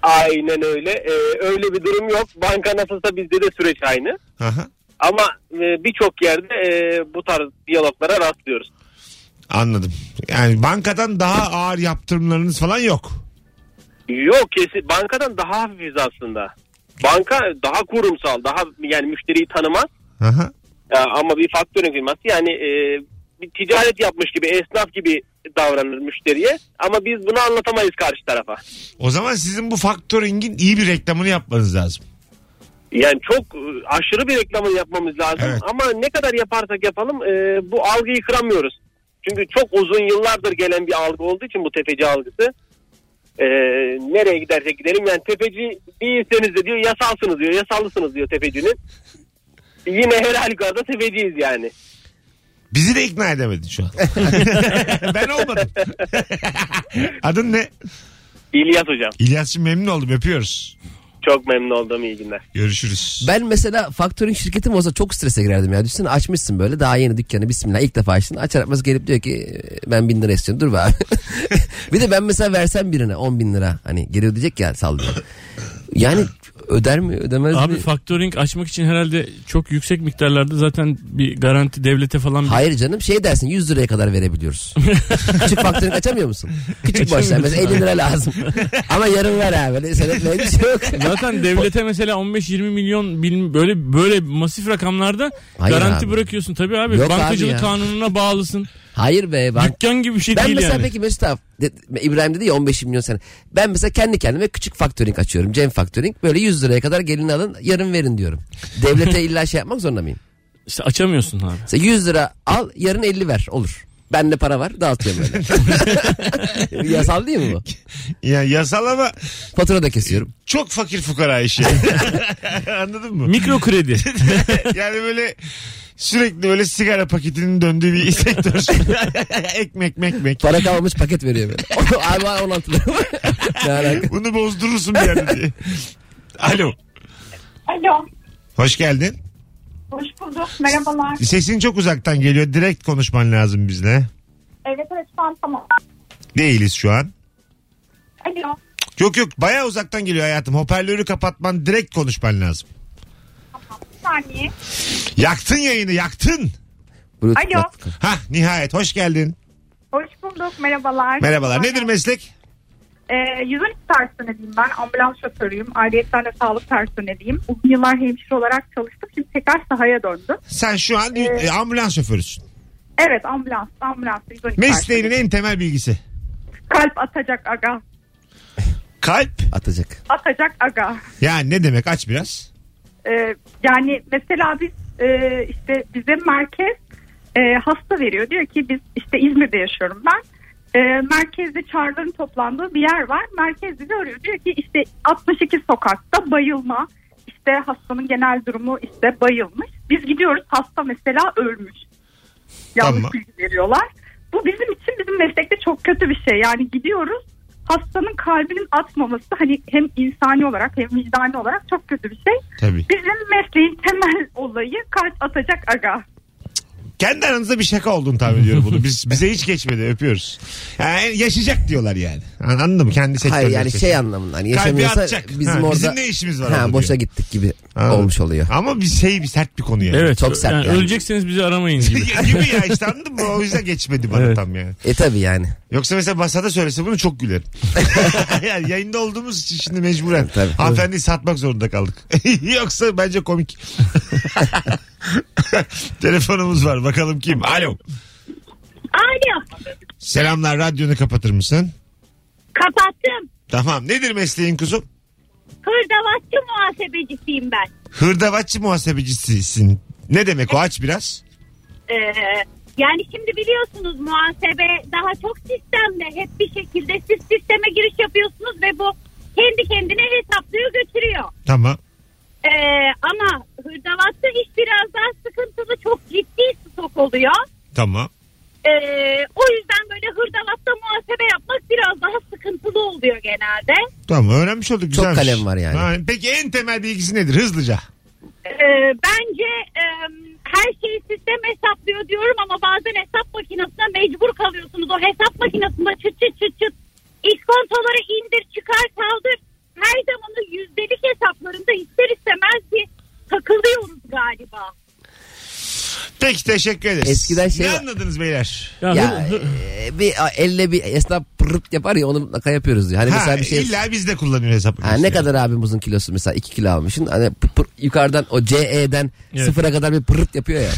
Aynen öyle. E, öyle bir durum yok. Banka nasılsa bizde de süreç aynı.
Aha,
Ama e, birçok yerde e, bu tarz diyaloglara rastlıyoruz.
anladım. Yani bankadan daha ağır yaptırımlarınız falan yok.
Yok kesin bankadan daha hafifiz aslında. Banka daha kurumsal, daha yani müşteriyi tanımaz.
Aha.
Ya ama bir faktörün firması yani e, bir ticaret yapmış gibi, esnaf gibi davranır müşteriye. Ama biz bunu anlatamayız karşı tarafa.
O zaman sizin bu factoring'in iyi bir reklamını yapmanız lazım.
Yani çok e, aşırı bir reklamını yapmamız lazım.
Evet.
Ama ne kadar yaparsak yapalım e, bu algıyı kıramıyoruz. Çünkü çok uzun yıllardır gelen bir algı olduğu için bu tefeci algısı. Ee, nereye gidersek gidelim yani tefeci değilseniz de diyor yasalsınız diyor yasallısınız diyor tefecinin. Yine her halükarda tefeciyiz yani.
Bizi de ikna edemedin şu an. ben olmadım. Adın ne?
İlyas hocam
İlyas'cığım memnun oldum öpüyoruz.
çok memnun oldum iyi günler.
Görüşürüz.
Ben mesela faktörün şirketim olsa çok strese girerdim ya. Düşünsene açmışsın böyle daha yeni dükkanı bismillah ilk defa açtın. Açar açmaz gelip diyor ki ben bin lira istiyorum dur be abi. bir de ben mesela versem birine on bin lira hani geri ödeyecek ya sallıyor. Yani öder mi ödemez
Abi
mi?
factoring açmak için herhalde çok yüksek miktarlarda zaten bir garanti devlete falan bir
Hayır canım şey dersin 100 liraya kadar verebiliyoruz. Küçük faktörü açamıyor musun? Küçük borçlar mesela 50 lira lazım. Ama yarım ver abi. Böyle Senetmeye bir şey yok.
Zaten devlete mesela 15-20 milyon bilmi- böyle böyle masif rakamlarda
Hayır
garanti
abi.
bırakıyorsun. Tabii abi
Yok
bankacılık
abi ya.
kanununa bağlısın.
Hayır be ben
Dükkan gibi bir şey
Ben
değil
mesela
yani.
peki Mesut abi, de- İbrahim dedi ya 15 milyon sene. Ben mesela kendi kendime küçük faktörink açıyorum. Cem faktörink. Böyle 100 liraya kadar gelin alın yarın verin diyorum. Devlete illa şey yapmak zorunda mıyım?
İşte açamıyorsun abi.
Mesela 100 lira al yarın 50 ver olur. Bende para var dağıtıyorum öyle. Yasal değil mi bu?
Ya yasal ama
Fatura da kesiyorum.
çok fakir fukara işi. Anladın mı?
Mikro kredi.
yani böyle sürekli böyle sigara paketinin döndüğü bir sektör. ekmek mekmek.
Para kalmamış paket veriyor böyle. abi var 16 lira. ne alaka?
Bunu bozdurursun bir yerde diye. Alo.
Alo.
Hoş geldin.
Hoş bulduk. Merhabalar.
Sesin çok uzaktan geliyor. Direkt konuşman lazım bizle.
Evet evet şu an tamam.
Değiliz şu an.
Alo.
Yok yok baya uzaktan geliyor hayatım. Hoparlörü kapatman direkt konuşman lazım.
Bir saniye.
Yaktın yayını yaktın.
Bluetooth
Alo.
kulaklık.
Hah nihayet hoş geldin.
Hoş bulduk. Merhabalar.
Merhabalar. Nedir meslek?
Ee, yüzün personeliyim ben. Ambulans şoförüyüm. Ayrıyetten de sağlık personeliyim. Uzun yıllar hemşire olarak çalıştım. Şimdi tekrar sahaya döndüm.
Sen şu an e, ambulans şoförüsün.
Evet ambulans. Ambulans. 112
Mesleğinin
personeli.
en temel bilgisi.
Kalp atacak aga.
Kalp.
Atacak.
Atacak aga.
Yani ne demek aç biraz.
Ee, yani mesela biz e, işte bizim merkez e, hasta veriyor. Diyor ki biz işte İzmir'de yaşıyorum ben. E, merkezde çağrıların toplandığı bir yer var. Merkez bizi arıyor. Diyor ki işte 62 sokakta bayılma. İşte hastanın genel durumu işte bayılmış. Biz gidiyoruz hasta mesela ölmüş. Yanlış
Tamam.
bilgi veriyorlar. Bu bizim için bizim meslekte çok kötü bir şey. Yani gidiyoruz hastanın kalbinin atmaması hani hem insani olarak hem vicdani olarak çok kötü bir şey.
Tabii.
Bizim mesleğin temel olayı kalp atacak aga.
Kendi aranızda bir şaka olduğunu tahmin ediyorum bunu. Biz, bize hiç geçmedi öpüyoruz. Yani yaşayacak diyorlar yani. An- Anladın mı? Kendi sektöründe.
Hayır yani şey
yaşayacak.
anlamında hani yaşamıyorsa
atacak.
bizim
Ha,
orada
bizim ne işimiz var orada
ha, boşa
diyor.
gittik gibi
Anladım.
olmuş oluyor.
Ama bir şey bir sert bir konu yani.
Evet.
Çok sert
yani
yani.
Ölecekseniz bizi aramayın gibi.
Ya gibi ya işte anladın mı? O yüzden geçmedi bana
Evet.
tam yani.
E tabi yani.
Yoksa mesela masada söylese bunu çok gülerim. yani yayında olduğumuz için şimdi mecburen.
Tabii.
Hanımefendiyi satmak zorunda kaldık. Yoksa bence komik. Telefonumuz var bakalım kim? Alo.
Alo
Selamlar radyonu kapatır mısın?
kapattım.
Tamam nedir mesleğin kuzum?
Hırdavatçı muhasebecisiyim ben.
Hırdavatçı muhasebecisisin. Ne demek o aç biraz?
Ee, yani şimdi biliyorsunuz muhasebe daha çok sistemde. Hep bir şekilde siz sisteme giriş yapıyorsunuz ve bu kendi kendine hesaplıyor götürüyor.
Tamam.
Ee, ama hırdavatta iş biraz daha sıkıntılı çok ciddi stok oluyor.
Tamam.
Ee, o yüzden böyle hırdavatta muhasebe yapmak biraz daha sıkıntılı oluyor genelde.
Tamam öğrenmiş olduk
Çok
güzelmiş.
kalem var yani.
Ha, peki en temel bilgisi nedir hızlıca?
Ee, bence e, her şeyi sistem hesaplıyor diyorum ama bazen hesap makinesine mecbur kalıyorsunuz. O hesap makinesinde çıt çıt çıt çıt iskontoları indir çıkar kaldır. Her zaman o yüzdelik hesaplarında ister istemez bir takılıyoruz galiba.
Peki teşekkür ederiz.
Eskiden şey
Ne
var.
anladınız beyler?
Ya,
Ya
hı- hı-
e, bir a, elle bir esnaf pırırt yapar ya onu mutlaka yapıyoruz diyor. Hani
ha,
mesela bir şey
İlla biz de kullanıyor hesap
Ha,
makinesini.
ne kadar abimizin kilosu mesela 2 kilo almışsın. Hani pır pır yukarıdan o CE'den
Evet.
sıfıra kadar bir pırırt yapıyor ya.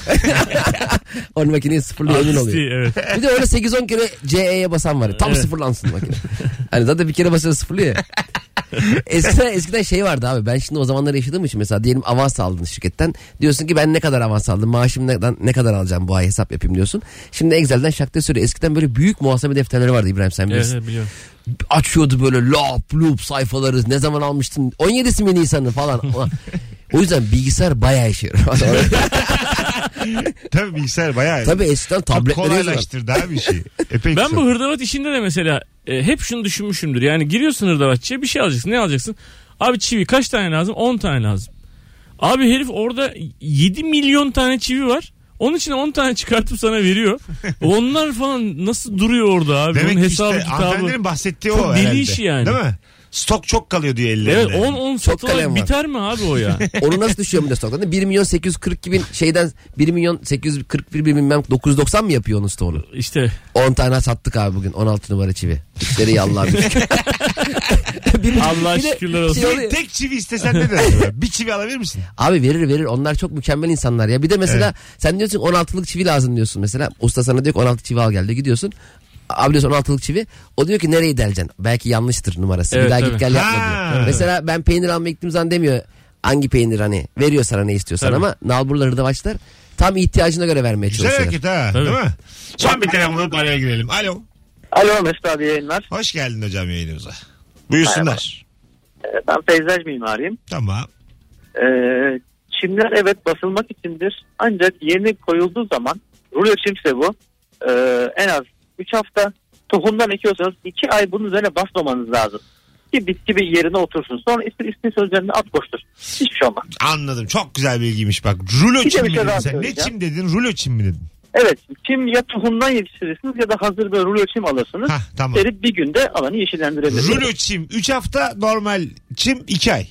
Onun makineyi sıfırlıyor emin
Artisti,
oluyor.
evet.
Bir de öyle 8-10 kere CE'ye basan var. Tam sıfırlansın makine. Hani zaten bir kere basıyor sıfırlıyor ya. eskiden, eskiden şey vardı abi ben şimdi o zamanlar yaşadığım için mesela diyelim avans aldın şirketten diyorsun ki ben ne kadar avans aldım maaşım ne, ne kadar alacağım bu ay hesap yapayım diyorsun. Şimdi Excel'den şakta sürüyor eskiden böyle büyük muhasebe defterleri vardı İbrahim sen
Evet,
bilirsin.
evet, biliyorum.
Açıyordu böyle lap lup sayfaları ne zaman almıştın 17'si mi Nisan'ı falan. Ulan, o yüzden bilgisayar bayağı işe yarıyor.
Tabii bilgisayar bayağı.
Tabii eskiden
Çok
tabletleri yazıyorlar.
kolaylaştırdı abi işi. E, Epey
Ben
kısa.
bu hırdavat işinde de mesela e, hep şunu düşünmüşümdür. Yani giriyorsun hırdavatçıya bir şey alacaksın. Ne alacaksın? Abi çivi kaç tane lazım? 10 tane lazım. Abi herif orada 7 milyon tane çivi var. Onun için 10 tane çıkartıp sana veriyor. Onlar falan nasıl duruyor orada abi?
Demek
Onun
ki
hesabı
işte hanımefendinin
kitabı.
bahsettiği
Çok
o
deli
herhalde.
işi yani.
Değil mi? Stok çok kalıyor diyor
Evet
ellerinde.
10 10
kalem
satılan
var.
biter mi abi o ya?
Onu nasıl düşüyor milyon stoktan? 1 milyon 842 bin şeyden 1 milyon 841 bin bilmem 990 mı yapıyor onun stoğunu?
işte
10 tane sattık abi bugün 16 numara çivi. İşleri yallah. şey. bir,
Allah
bir de
şükürler olsun.
şey
Bir
oluyor.
tek çivi istesen ne der? bir çivi alabilir misin?
Abi verir verir onlar çok mükemmel insanlar ya. Bir de mesela sen diyorsun ki 16'lık çivi lazım diyorsun mesela. Usta sana diyor ki 16 çivi al gel diyor. gidiyorsun. Abi diyorsun 16'lık çivi. O diyor ki nereyi deleceksin? Belki yanlıştır numarası.
Evet,
bir daha
tabii.
git gel yapma
Ha.
diyor.
Evet.
Mesela ben peynir almaya gittiğim zaman demiyor. Hangi peynir hani veriyor sana ne istiyorsan
Tabii.
ama nalburları da başlar. Tam ihtiyacına göre vermeye
Güzel
çalışıyorlar.
hareket ha.
Tabii.
Değil mi? Son bir telefon alıp araya girelim. Alo.
Alo Mesut abi yayınlar.
Hoş geldin hocam yayınımıza. Buyursunlar.
Ee, Ben peyzaj mimarıyım.
Tamam.
Ee, çimler evet basılmak içindir. Ancak yeni koyulduğu zaman rulo çimse bu. Ee, en az 3 hafta tohumdan ekiyorsanız 2 ay bunun üzerine basmamanız lazım. Ki bitki bir yerine otursun. Sonra ister ister sözlerini at koştur. Hiçbir şey olmaz.
Anladım. Çok güzel bilgiymiş bak. Rulo
Bir de
çim
bir
mi
şey
dedin
daha
sen? Ne
söyleyeceğim.
çim dedin? Rulo çim mi dedin?
Evet çim ya tohumdan yetiştirirsiniz ya da hazır böyle rulo çim alırsınız.
Hah tamam.
Serip bir günde alanı yeşillendirebilirsiniz.
Rulo çim 3 hafta normal çim 2 ay.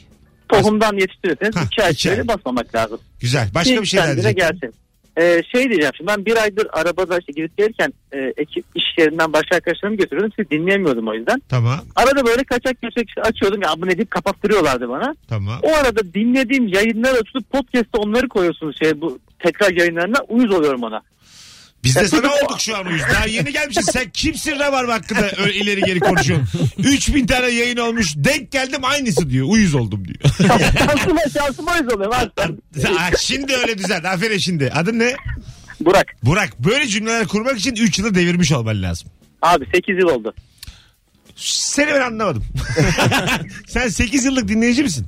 Tohumdan yetiştirirseniz
Hah,
2 ay
iki ay.
içeri basmamak lazım.
Güzel. Başka bir şey daha
kendine
diyecek.
gelsin. Ee, şey diyeceğim şimdi ben bir aydır arabada işte gidip gelirken e, ekip iş yerinden başka arkadaşlarımı götürüyordum. Sizi dinleyemiyordum o yüzden.
Tamam
Arada böyle kaçak göçek işte açıyordum ya bu ne deyip kapattırıyorlardı bana.
tamam.
O arada dinlediğim yayınlar açılıp podcast'te onları koyuyorsunuz şey bu tekrar yayınlarına uyuz oluyorum ona.
Biz de
Ya,
sana
çünkü-
olduk şu an uyuz. Daha yeni gelmişiz. Sen kimsin Rabarba hakkında öyle ileri geri konuşuyorsun. 3000 tane yayın olmuş. Denk geldim aynısı diyor. Uyuz oldum diyor.
şansıma şansıma uyuz oluyorum. harbiden.
Aa, şimdi öyle düzeldi. Aferin şimdi. Adın ne?
Burak
Burak. Böyle cümleler kurmak için 3 yılı devirmiş olman lazım.
abi 8 yıl oldu.
Seni ben anlamadım. Sen 8 yıllık dinleyici misin?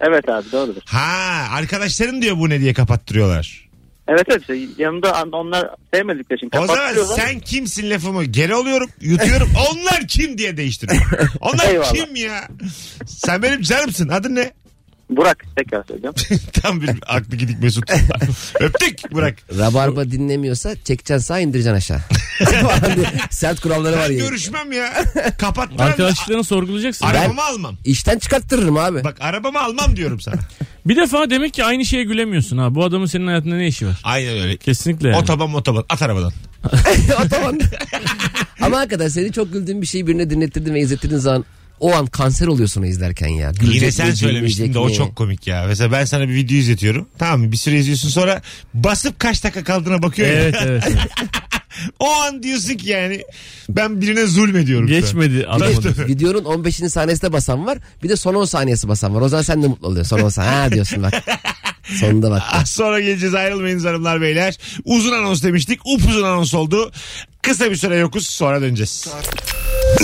Evet abi doğrudur.
Ha arkadaşların diyor bu ne diye kapattırıyorlar.
Evet evet işte yanımda an- onlar sevmedikleri için
O zaman
kapatıyorlar.
sen kimsin lafımı geri alıyorum yutuyorum onlar kim diye değiştiriyorum. Onlar
Eyvallah.
kim ya? Sen benim canımsın adın ne?
Burak tekrar söylüyorum.
Tam bir aklı gidik Mesut. Öptük Burak.
Rabarba dinlemiyorsa çekeceksin sağa indireceksin aşağı. Falan diye Sert kuralları var
Ben
ya.
görüşmem ya. Kapatmam.
arkadaşlıklarını sorgulayacaksın.
Arabamı almam.
İşten çıkarttırırım abi.
Bak arabamı almam diyorum sana.
Bir defa demek ki aynı şeye gülemiyorsun ha. Bu adamın senin hayatında ne işi var?
Aynen öyle.
Kesinlikle. yani.
Otoban otoban at arabadan.
Otoban. Ama hakikaten seni çok güldüğün bir şeyi birine dinlettirdin ve izlettirdiğin zaman o an kanser oluyorsun o izlerken ya. Gülecek
Yine
mi,
sen söylemiştin
gülmeyecek
de o
mi?
çok komik ya. Mesela ben sana bir video izletiyorum. Tamam mı? Bir süre izliyorsun sonra basıp kaç dakika kaldığına bakıyor. ya.
Evet evet.
O an diyorsun ki yani ben birine zulmediyorum. şu an.
Geçmedi
Bir de
atamadı.
videonun 15. saniyesinde basan var. Bir de son 10 saniyesi basan var. O zaman sen de mutlu oluyorsun. Son 10 saniye. Ha diyorsun bak. Sonunda bak.
Az Ah, sonra geleceğiz ayrılmayınız hanımlar beyler. Uzun anons demiştik. Upuzun anons oldu. Kısa bir süre yokuz sonra döneceğiz.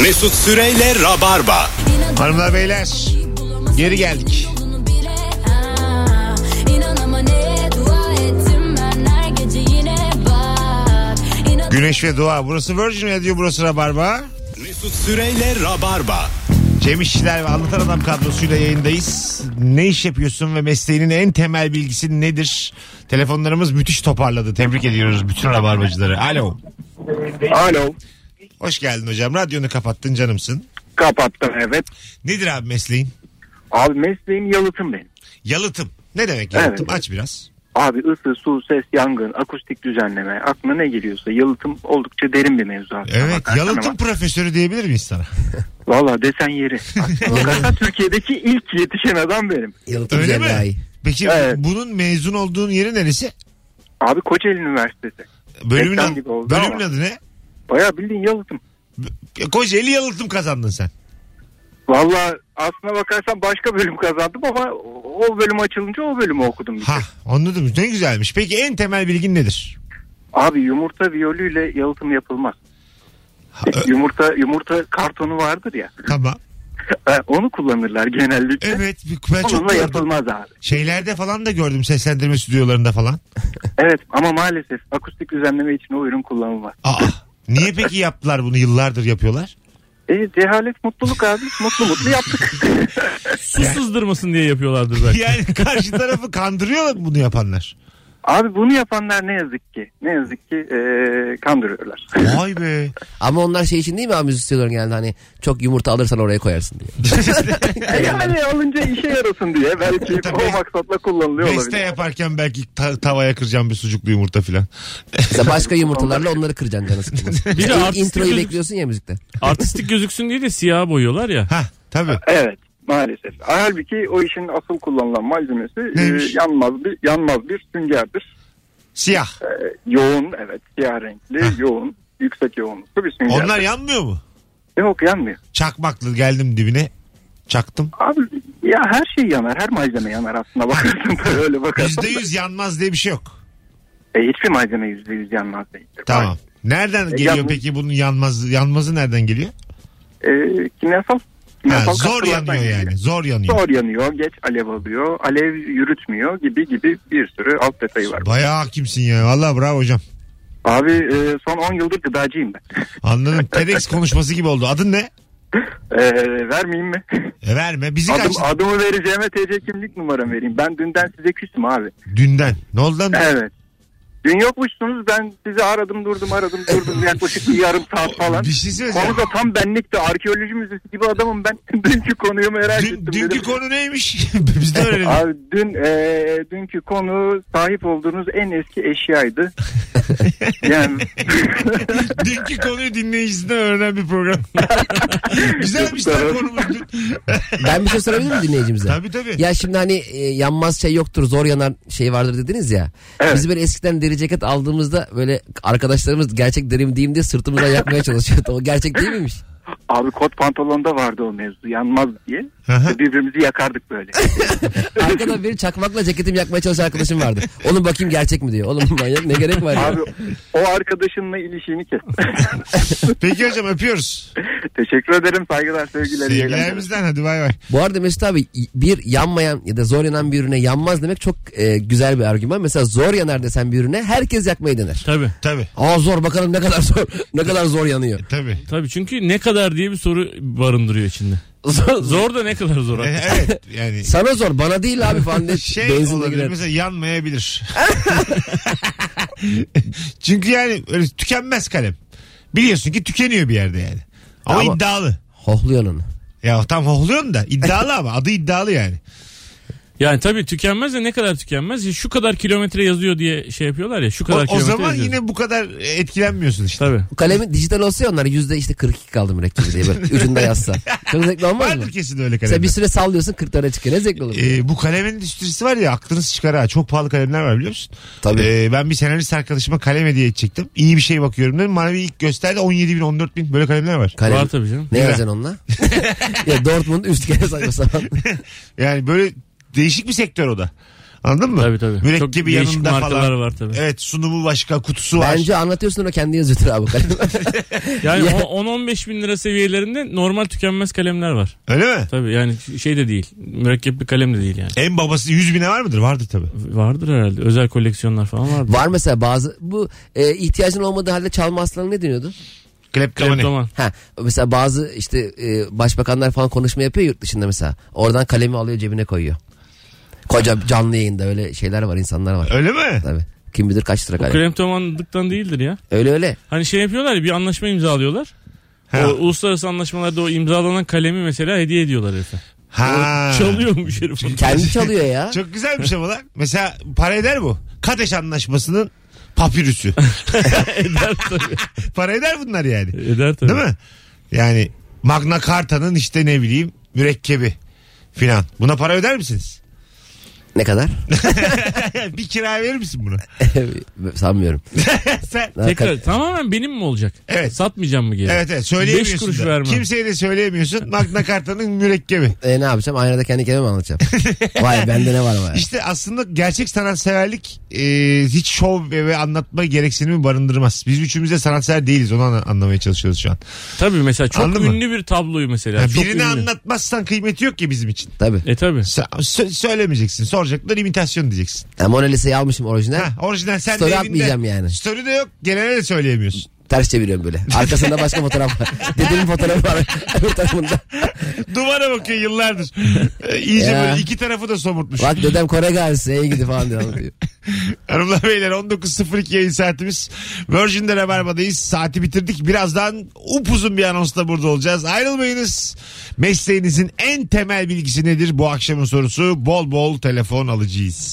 Mesut Süreyle Rabarba.
Hanımlar beyler geri geldik. Güneş ve Doğa. Burası Virgin Radio, burası Rabarba.
Mesut Süreyle Rabarba.
Cem İşçiler ve Anlatan Adam kadrosuyla yayındayız. Ne iş yapıyorsun ve mesleğinin en temel bilgisi nedir? Telefonlarımız müthiş toparladı. Tebrik ediyoruz bütün rabarbacıları. Alo.
Alo
Hoş geldin hocam. Radyonu kapattın canımsın.
kapattım evet.
Nedir abi mesleğin?
Abi mesleğim yalıtım benim.
Yalıtım. Ne demek yalıtım?
Evet.
Aç biraz.
Abi ısı, su, ses, yangın, akustik düzenleme aklına ne geliyorsa yalıtım oldukça derin bir mevzu aslında.
Evet
Bakarsan
yalıtım
ama
profesörü diyebilir miyiz sana?
Valla desen yeri. Hakikaten Türkiye'deki ilk yetişen adam benim.
Yalıtım
Öyle
cerrahi.
mi? Peki
Evet.
bunun mezun olduğun yeri neresi?
Abi Kocaeli Üniversitesi.
Bölümün,
Reklam
ad-
gibi oldu
bölümün
ama.
adı ne?
Baya bildiğin yalıtım.
Kocaeli yalıtım kazandın sen.
Valla aslına bakarsan başka bölüm kazandım ama o bölüm açılınca o bölümü okudum. bir
Ha
tek.
anladım. Ne güzelmiş. Peki en temel bilgin nedir?
Abi yumurta viyolüyle yalıtım yapılmaz.
ö-
yumurta yumurta kartonu vardır ya.
Tamam.
Onu kullanırlar genellikle.
Evet. Ben çok
Onunla
gördüm.
yapılmaz abi.
Şeylerde falan da gördüm seslendirme stüdyolarında falan.
Evet ama maalesef akustik düzenleme için o ürün kullanılmaz.
Aa. Niye peki yaptılar bunu yıllardır yapıyorlar?
E, cehalet mutluluk abi. Mutlu mutlu yaptık.
Su sızdırmasın diye yapıyorlardır belki.
Yani karşı tarafı kandırıyorlar mı bunu yapanlar?
abi bunu yapanlar ne yazık ki. Ne yazık ki e, kandırıyorlar.
Vay be.
Ama onlar şey için değil mi abi müzisyenlerin geldi hani çok yumurta alırsan oraya koyarsın diye.
yani hani alınca işe yarasın diye belki
Tabii.
o maksatla kullanılıyor
Beste
olabilir.
yaparken belki ta- tavaya kıracağım bir sucuklu yumurta filan.
Mesela başka yumurtalarla onları kıracaksın canı sıkılmasın.
Bir de
İn-
artistik
introyu
gözük-
bekliyorsun ya müzikte.
Artistik gözüksün diye de siyah boyuyorlar ya.
Ha tabii.
Evet maalesef. Halbuki o işin asıl kullanılan malzemesi e,
Neymiş?
yanmaz bir yanmaz bir süngerdir. E,
Siyah.
Yoğun evet siyah renkli yoğun yüksek yoğunluklu bir sünger.
Onlar yanmıyor mu?
Yok yanmıyor.
Çakmaklı geldim dibine. Çaktım.
Abi ya her şey yanar her malzeme yanar aslında bakarsan da öyle bakarsan.
Yüzde
da.
yüz yanmaz diye bir şey yok.
E, hiçbir malzeme yüzde yüz yanmaz değildir.
Tamam. Nereden geliyor
yanmaz.
peki bunun yanmaz yanmazı nereden geliyor?
E, kimyasal, kimyasal
Ha, zor
katkılardan
yanıyor
geliyor.
yani. Zor yanıyor.
Zor yanıyor, geç alev alıyor, alev yürütmüyor gibi gibi bir sürü alt detayı var.
Bayağı hakimsin ya. Valla bravo hocam.
Abi e, son 10 yıldır gıdacıyım ben.
Anladım. TEDx konuşması gibi oldu. Adın ne?
E, vermeyeyim mi?
E, verme. Bizi
Adım,
kaç
adımı vereceğime TC kimlik numaramı vereyim. Ben dünden size küstüm abi.
dünden. Ne oldu lan?
Evet. Dün yokmuşsunuz ben sizi aradım durdum aradım durdum yaklaşık bir yarım saat falan.
Bir şey söyleyeceğim.
Konu da tam benlikti. Arkeoloji müzesi gibi adamım ben. Dünkü konuyu merak
Dün-
ettim.
dünkü
dedim.
konu neymiş? Biz de öğrenelim.
Abi dün e, dünkü konu sahip olduğunuz en eski eşyaydı. yani
dünkü konuyu dinleyicisinden öğrenen bir program. Güzelmiş lan
Tamam.
konumuz. Dün-
Ben bir şey sorabilir miyim dinleyicimize?
Tabii tabii.
Ya şimdi hani e, yanmaz şey yoktur zor yanan şey vardır dediniz ya.
Evet.
Biz böyle eskiden deri ceket aldığımızda böyle arkadaşlarımız gerçek derim diyeyim diye sırtımıza yakmaya çalışıyordu. O gerçek değil miymiş?
abi kot pantolonda vardı o mevzu yanmaz diye.
Aha.
Birbirimizi yakardık böyle.
Arkadan bir çakmakla ceketimi yakmaya çalışan arkadaşım vardı. Oğlum bakayım gerçek mi diyor. Oğlum manyak ne gerek var ya.
Abi o arkadaşınla ilişiğini kes.
Peki hocam öpüyoruz.
Teşekkür ederim. Saygılar, sevgiler. iyi eğlenceler.
Sevgilerimizden hadi bay bay.
Bu arada Mesut abi bir yanmayan ya da zor yanan bir ürüne yanmaz demek çok e, güzel bir argüman. Mesela zor yanar desen bir ürüne herkes yakmayı dener.
Tabii.
Tabii.
Aa zor bakalım ne kadar zor ne kadar zor yanıyor.
Tabii.
Tabii çünkü ne kadar diye bir soru barındırıyor içinde. Zor, zor da ne kadar zor.
E, evet yani
Sana zor bana değil abi falan diye
şey
benzinle
olabilir
girer.
mesela yanmayabilir. Çünkü yani öyle tükenmez kalem. Biliyorsun ki tükeniyor bir yerde yani. Ama,
Ama-
iddialı.
Hohluyorsun onu.
Ya tam hohluyorum da iddialı ama adı iddialı yani.
Yani tabii tükenmez de ne kadar tükenmez. Şu kadar kilometre yazıyor diye şey yapıyorlar ya. Şu
O,
kadar
o
kilometre
zaman
yazıyor.
yine bu kadar etkilenmiyorsun işte.
Tabii.
Bu kalemin dijital olsa ya onlar yüzde işte 42 kaldı mürekkebi diye böyle ucunda yazsa. Çok zevkli olmaz mı?
Vardır kesin öyle
Sen
kalemler.
bir süre sallıyorsun 40'lara çıkıyor. Ne zevkli olur.
Ee, bu kalem endüstrisi var ya aklınız çıkar ha. Çok pahalı kalemler var biliyor musun?
Tabii.
Ee, ben bir senarist arkadaşıma kalem hediye edecektim. İyi bir şey bakıyorum dedim. Bana bir ilk gösterdi 17 bin 14 bin böyle kalemler var.
Kalem.
Var tabii canım.
Ne yazacaksın onunla? ya Dortmund üst kere saçma sapan.
Yani böyle değişik bir sektör o da. Anladın mı?
Tabii tabii. Çok
Mürekkebi
değişik
yanında
markalar
falan.
var tabii.
Evet sunumu başka kutusu var.
Bence anlatıyorsun o kendi yazıyordur abi bu kalemi.
Yani
Ya.
o 10-15 bin lira seviyelerinde normal tükenmez kalemler var.
Öyle mi?
Tabii yani şey de değil. Mürekkep bir kalem de değil yani.
En babası 100 bine var mıdır? Vardır tabii.
Vardır herhalde. Özel koleksiyonlar falan vardır.
Var mesela bazı bu e, ihtiyacın olmadığı halde çalma aslanı ne deniyordu?
Kleptomani.
Kleptoman.
Ha mesela bazı işte e, başbakanlar falan konuşma yapıyor yurt dışında mesela. Oradan kalemi alıyor cebine koyuyor. Koca canlı yayında öyle şeyler var insanlar var.
Öyle mi?
Tabii. Kim bilir kaç lira kalem.
Kleptomanlıktan değildir ya.
Öyle öyle.
Hani şey yapıyorlar ya bir anlaşma imzalıyorlar.
Ha.
O uluslararası anlaşmalarda o imzalanan kalemi mesela hediye ediyorlar herife.
Ha.
Çalıyormuş herif. onu.
Kendi çalıyor ya.
Çok güzelmiş ama lan. Mesela para eder bu. Kadeş anlaşmasının papirüsü.
eder tabii.
para eder bunlar yani.
Eder tabii.
Değil mi? Yani Magna Carta'nın işte ne bileyim mürekkebi filan. Buna para öder misiniz?
Ne kadar?
bir kira verir misin buna?
Sanmıyorum.
Sen
Tekrar tamamen benim mi olacak?
Evet.
Satmayacağım mı geri?
Evet evet
Beş
söyleyemiyorsun.
kuruş
da.
vermem.
Kimseye de söyleyemiyorsun. Magna Carta'nın mürekkebi.
E, ne yapacağım? Aynada kendi kendime mi anlatacağım? Vay bende ne var vay.
İşte aslında gerçek sanatseverlik e, hiç şov ve, ve anlatma gereksinimi barındırmaz. Biz üçümüz de sanatsever değiliz onu an- anlamaya çalışıyoruz şu an.
Tabii mesela çok
Anladın mı?
ünlü bir tabloyu mesela.
Yani
çok
birini
ünlü.
anlatmazsan kıymeti yok ki bizim için.
Tabii.
E tabii.
Sa- sö- söylemeyeceksin. Soracaklar imitasyon diyeceksin.
Yani Mona Lisa'yı almayacağım orijinal.
Ha, orijinal sen
Story
de elinde-
atmayacağım yani.
Story de yok. Genelde de söyleyemiyorsun.
Ters çeviriyorum böyle. Arkasında başka fotoğraf var. Dedemin fotoğrafı var. Öbür tarafında.
Duvara bakıyor yıllardır. Ee, İyice
Ya.
böyle iki tarafı da somurtmuş.
Bak dedem Kore gazisi. Ey gidi falan diye anlatıyor.
Hanımlar beyler 19.02 yayın saatimiz. Virgin'de Rabarba'dayız. Saati bitirdik. Birazdan upuzun bir anonsla burada olacağız. Ayrılmayınız. Mesleğinizin en temel bilgisi nedir? Bu akşamın sorusu bol bol telefon alacağız.